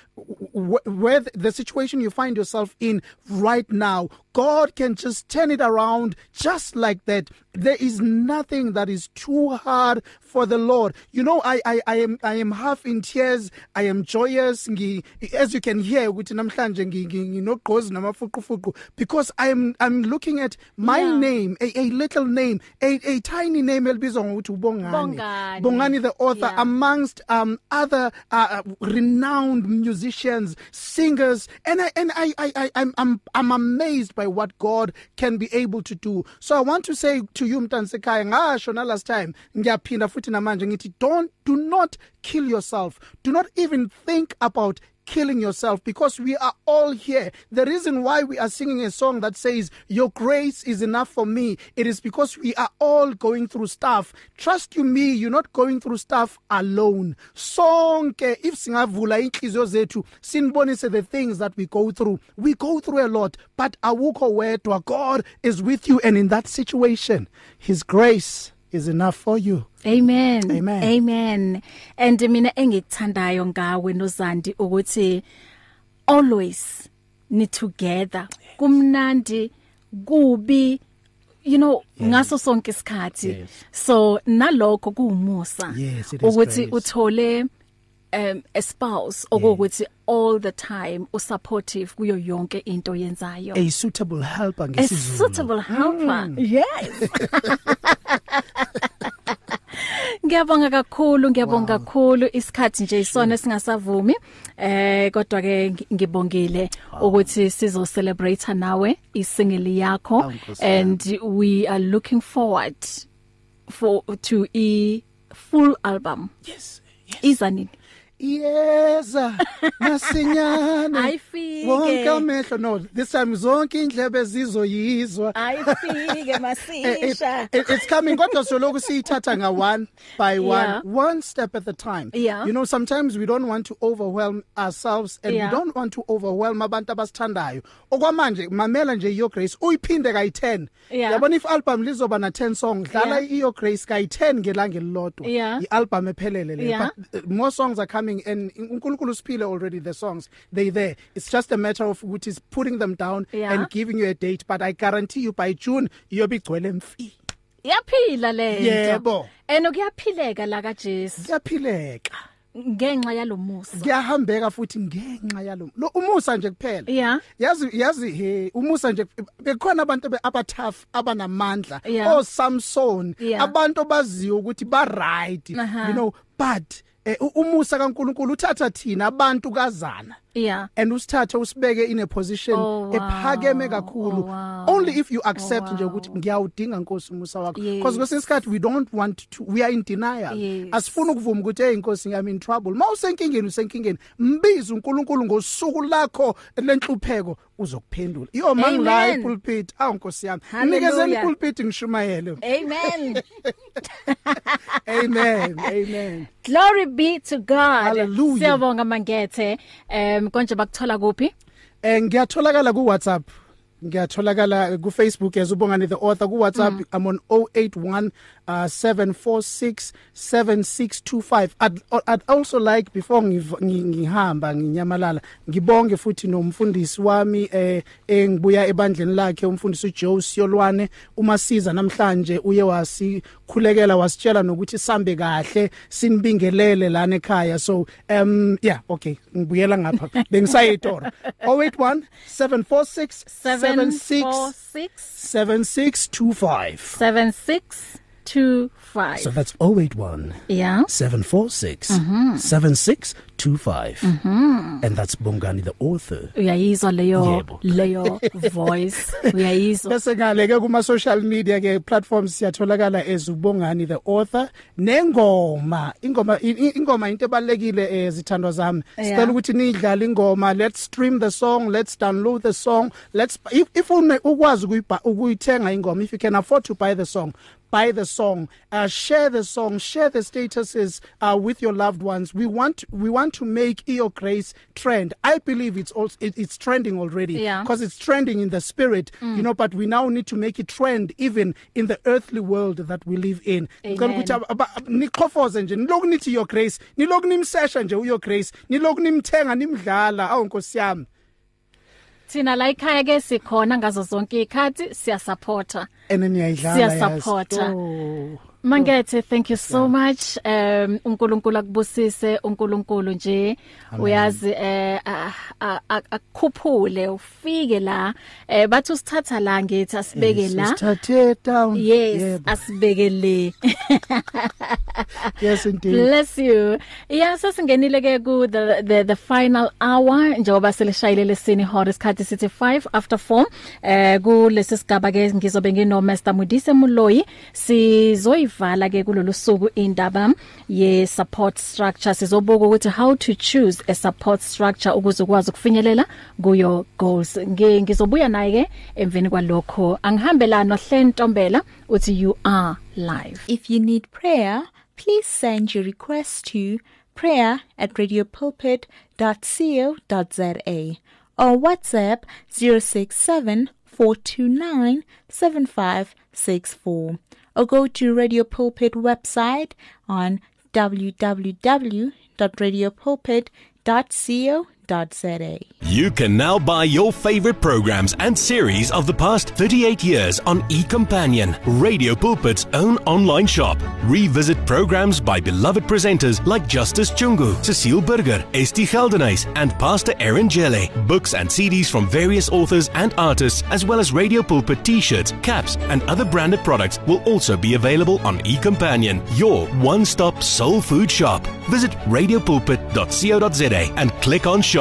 [SPEAKER 4] wh- where th- the situation you find yourself in right now god can just turn it around just like that there is nothing that is too hard for the lord you know i i, I am i am half in tears i am joyous ngi as you can hear ukuthi namhlanje ngi- ngi- nginogqozi namafuqufuqu because i am i'm looking at my yeah. name a, a little name a, a tiny name elibizwa ngokuthi ubongani
[SPEAKER 3] Bongani.
[SPEAKER 4] bongani the author yeah. amongst um other uh, uh, renowned musicians singers and I, and I, I I I'm I'm I'm amazed by what God can be able to do so I want to say to you mtansekhaya ngasho na last time ngiyaphinda futhi namanje ngithi don't do not kill yourself do not even think about killing yourself because we are all here. The reason why we are singing a song that says, Your grace is enough for me, it is because we are all going through stuff. Trust you me, you're not going through stuff alone. Sonke, if singavula inhliziyo zethu, sinbonise the things that we go through. We go through a lot, but awukho wedwa. God is with you, and in that situation, His grace is enough for you.
[SPEAKER 3] Amen. Amen. Amen. And mina engikuthandayo ngawe nozandi ukuthi always ni together. Kumnandi kubi you know ngaso sonke isikhathi. So nalokho kuumusa
[SPEAKER 4] Yes, it is
[SPEAKER 3] ukuthi
[SPEAKER 4] grace.
[SPEAKER 3] uthole um a spouse okuthi all the time usupportive kuyo yonke into yenzayo.
[SPEAKER 4] A suitable helper
[SPEAKER 3] a
[SPEAKER 4] ngesizulu.
[SPEAKER 3] suitable helper
[SPEAKER 4] Mm.
[SPEAKER 3] yes ngiyabonga kakhulu ngiyabonga kakhulu isikhathi nje isona singasavumi eh kodwa ke ngi- ngibongile ukuthi sizo celebrate nawe isingeli yakho
[SPEAKER 4] Nkosi yami.
[SPEAKER 3] and we are looking forward for to a full album
[SPEAKER 4] yes
[SPEAKER 3] iza nini <laughs>
[SPEAKER 4] Yeza masinyane
[SPEAKER 3] Ayifike.
[SPEAKER 4] wonke amehlo no this time zonke indlebe zizoyizwa
[SPEAKER 3] ayifike
[SPEAKER 4] <laughs> Eh, it, it, it's coming kodwa soloko siyithatha nga one by one
[SPEAKER 3] Yeah.
[SPEAKER 4] one step at a time
[SPEAKER 3] Yeah.
[SPEAKER 4] you know sometimes we don't want to overwhelm ourselves and
[SPEAKER 3] Yeah.
[SPEAKER 4] we don't want to overwhelm abantu abasithandayo okwamanje mamela nje iyo grace uyiphinde kayi 10
[SPEAKER 3] Yeah.
[SPEAKER 4] yabona if album lizoba na 10 song dlala
[SPEAKER 3] Yeah.
[SPEAKER 4] iyo grace kayi 10 ngelanga elilodwa
[SPEAKER 3] Yeah.
[SPEAKER 4] ialbum ephelele le
[SPEAKER 3] Yeah.
[SPEAKER 4] but uh, more songs are coming and unkulunkulu siphile already the songs they there it's just a matter of which is putting them down
[SPEAKER 3] Yeah.
[SPEAKER 4] and giving you a date but i guarantee you by june iyobigcwele mfi
[SPEAKER 3] iyaphila le
[SPEAKER 4] Yebo.
[SPEAKER 3] eno kuyaphileka la ka Jesu
[SPEAKER 4] kuyaphileka
[SPEAKER 3] ngenxa yalomusa
[SPEAKER 4] kuyahambeka futhi ngenxa yalo lo umusa nje kuphela
[SPEAKER 3] Yeah.
[SPEAKER 4] yazi yazi he umusa nje bekhona abantu abe- abathough abanamandla
[SPEAKER 3] Yeah.
[SPEAKER 4] o Samson
[SPEAKER 3] Yeah.
[SPEAKER 4] abantu baziyo ukuthi ba right
[SPEAKER 3] Uh-huh.
[SPEAKER 4] you know but eh, u- umusa kaNkuluNkulu uthatha thina abantu kazana
[SPEAKER 3] Yeah.
[SPEAKER 4] and usithathe usibeke in a position
[SPEAKER 3] Oh, wow.
[SPEAKER 4] ephakeme kakhulu
[SPEAKER 3] Oh, wow.
[SPEAKER 4] only if you accept nje ukuthi ngiyawudinga nkosi umusa wakho because kwesinye isikhathi we don't want to we are in denial
[SPEAKER 3] Yes.
[SPEAKER 4] asifuni ukuvuma ukuthi hey inkosi ngiyami in trouble mawusenkingeni usenkingeni mbiza uNkulunkulu ngosuku lakho lenhlupheko uzokuphendula iyo mangilay
[SPEAKER 3] Amen.
[SPEAKER 4] pulpit awu nkosi yami
[SPEAKER 3] Hallelujah.
[SPEAKER 4] nikezeni pulpit ngishumayele <laughs>
[SPEAKER 3] Amen. <laughs>
[SPEAKER 4] amen amen
[SPEAKER 3] Glory be to God.
[SPEAKER 4] Hallelujah.
[SPEAKER 3] Siyabonga Mangethe. Um konje bakuthola kuphi?
[SPEAKER 4] Eh ngiyatholakala ku WhatsApp. Ngiyatholakala ku Facebook as ubongane the author ku WhatsApp mm. I'm on 081 uh, 746 7625. I'd, I'd also like before ngiv- ngi- ngihamba nginyamalala ngibonge futhi nomfundisi wami eh engibuya ebandleni lakhe umfundisi Joe Siyolwane uma siza namhlanje uye wasikhulekela wasitshela nokuthi sambe kahle sinibingelele lana ekhaya so um yeah okay ngibuyela ngapha Oh bengisayitoro 081 746 76 7625
[SPEAKER 3] 7625.
[SPEAKER 4] so that's 081
[SPEAKER 3] yeah.
[SPEAKER 4] 746
[SPEAKER 3] Mhm.
[SPEAKER 4] 7625
[SPEAKER 3] Mhm.
[SPEAKER 4] and that's Bongani the author
[SPEAKER 3] Uyayizwa leyo
[SPEAKER 4] Yebo.
[SPEAKER 3] leyo voice. Uyayizwa.
[SPEAKER 4] bese ngaleke kuma social media ke platforms siyatholakala ezubongani the author nengoma ingoma i- i- ingoma into ebalekile ezithandwa zami
[SPEAKER 3] Yeah.
[SPEAKER 4] sicela ukuthi nidlale ingoma let's stream the song let's download the song let's if, if une ukwazi ukuyibha- ukuyithenga ingoma if you can afford to buy the song buy the song uh, share the song share the statuses uh, with your loved ones we want we want to make EO grace trend i believe it's also it, it's trending already
[SPEAKER 3] Yeah.
[SPEAKER 4] because it's trending in the spirit mm. you know but we now need to make it trend even in the earthly world that we live in ngicela
[SPEAKER 3] Amen.
[SPEAKER 4] ukuthi ab- ab- niqhofoze nje niloku nithi your grace niloku nimsesha nje uyo grace niloku nimthenga nimdlala awu nkosi yami
[SPEAKER 3] Thina la ekhaya ke sikhona ngazo zonke ikhathi siya supporta.
[SPEAKER 4] and niyayidlala
[SPEAKER 3] Siya
[SPEAKER 4] yazi.
[SPEAKER 3] support-a.
[SPEAKER 4] Oh.
[SPEAKER 3] Mangethe thank you so yeah. much um uNkulunkulu akubusise uNkulunkulu nje
[SPEAKER 13] Amen.
[SPEAKER 3] uyazi eh a- a- a- akukhuphule ufike la eh bathi usithatha la ngithi asibeke
[SPEAKER 4] Yes,
[SPEAKER 3] la
[SPEAKER 4] usithathe down
[SPEAKER 3] yes
[SPEAKER 4] Yebo.
[SPEAKER 3] asibeke le
[SPEAKER 4] yes indeed
[SPEAKER 3] Bless you. Yeah, sesingenile ke ku the the the final hour njengoba selishayile lesini hora isikhathi sithi 5 after 4. Eh ku lesisigaba ke ngizobe ngino Master Mudise Muloyi sizoyivala ke kulolu suku indaba ye support structure sizobuka ukuthi how to choose a support structure ukuze ukwazi ukufinyelela kuyo goals. Ngi- Ngizobuya naye ke emveni kwalokho. Angihambelana nohle Ntombela uthi you are live.
[SPEAKER 14] If you need prayer, please send your request to prayer at radiopulpit.co.za or WhatsApp 067 429 7564 or go to Radio Pulpit website on www.radiopulpit.co.za.
[SPEAKER 1] You can now buy your favorite programs and series of the past 38 years on eCompanion, Radio Pulpit's own online shop. Revisit programs by beloved presenters like Justice Chungu, Cecile Burger, Esti Geldenhuys, and Pastor Aaron Jelle. Books and CDs from various authors and artists, as well as Radio Pulpit t-shirts, caps, and other branded products will also be available on eCompanion, your one-stop soul food shop. Visit radiopulpit.co.za and click on shop.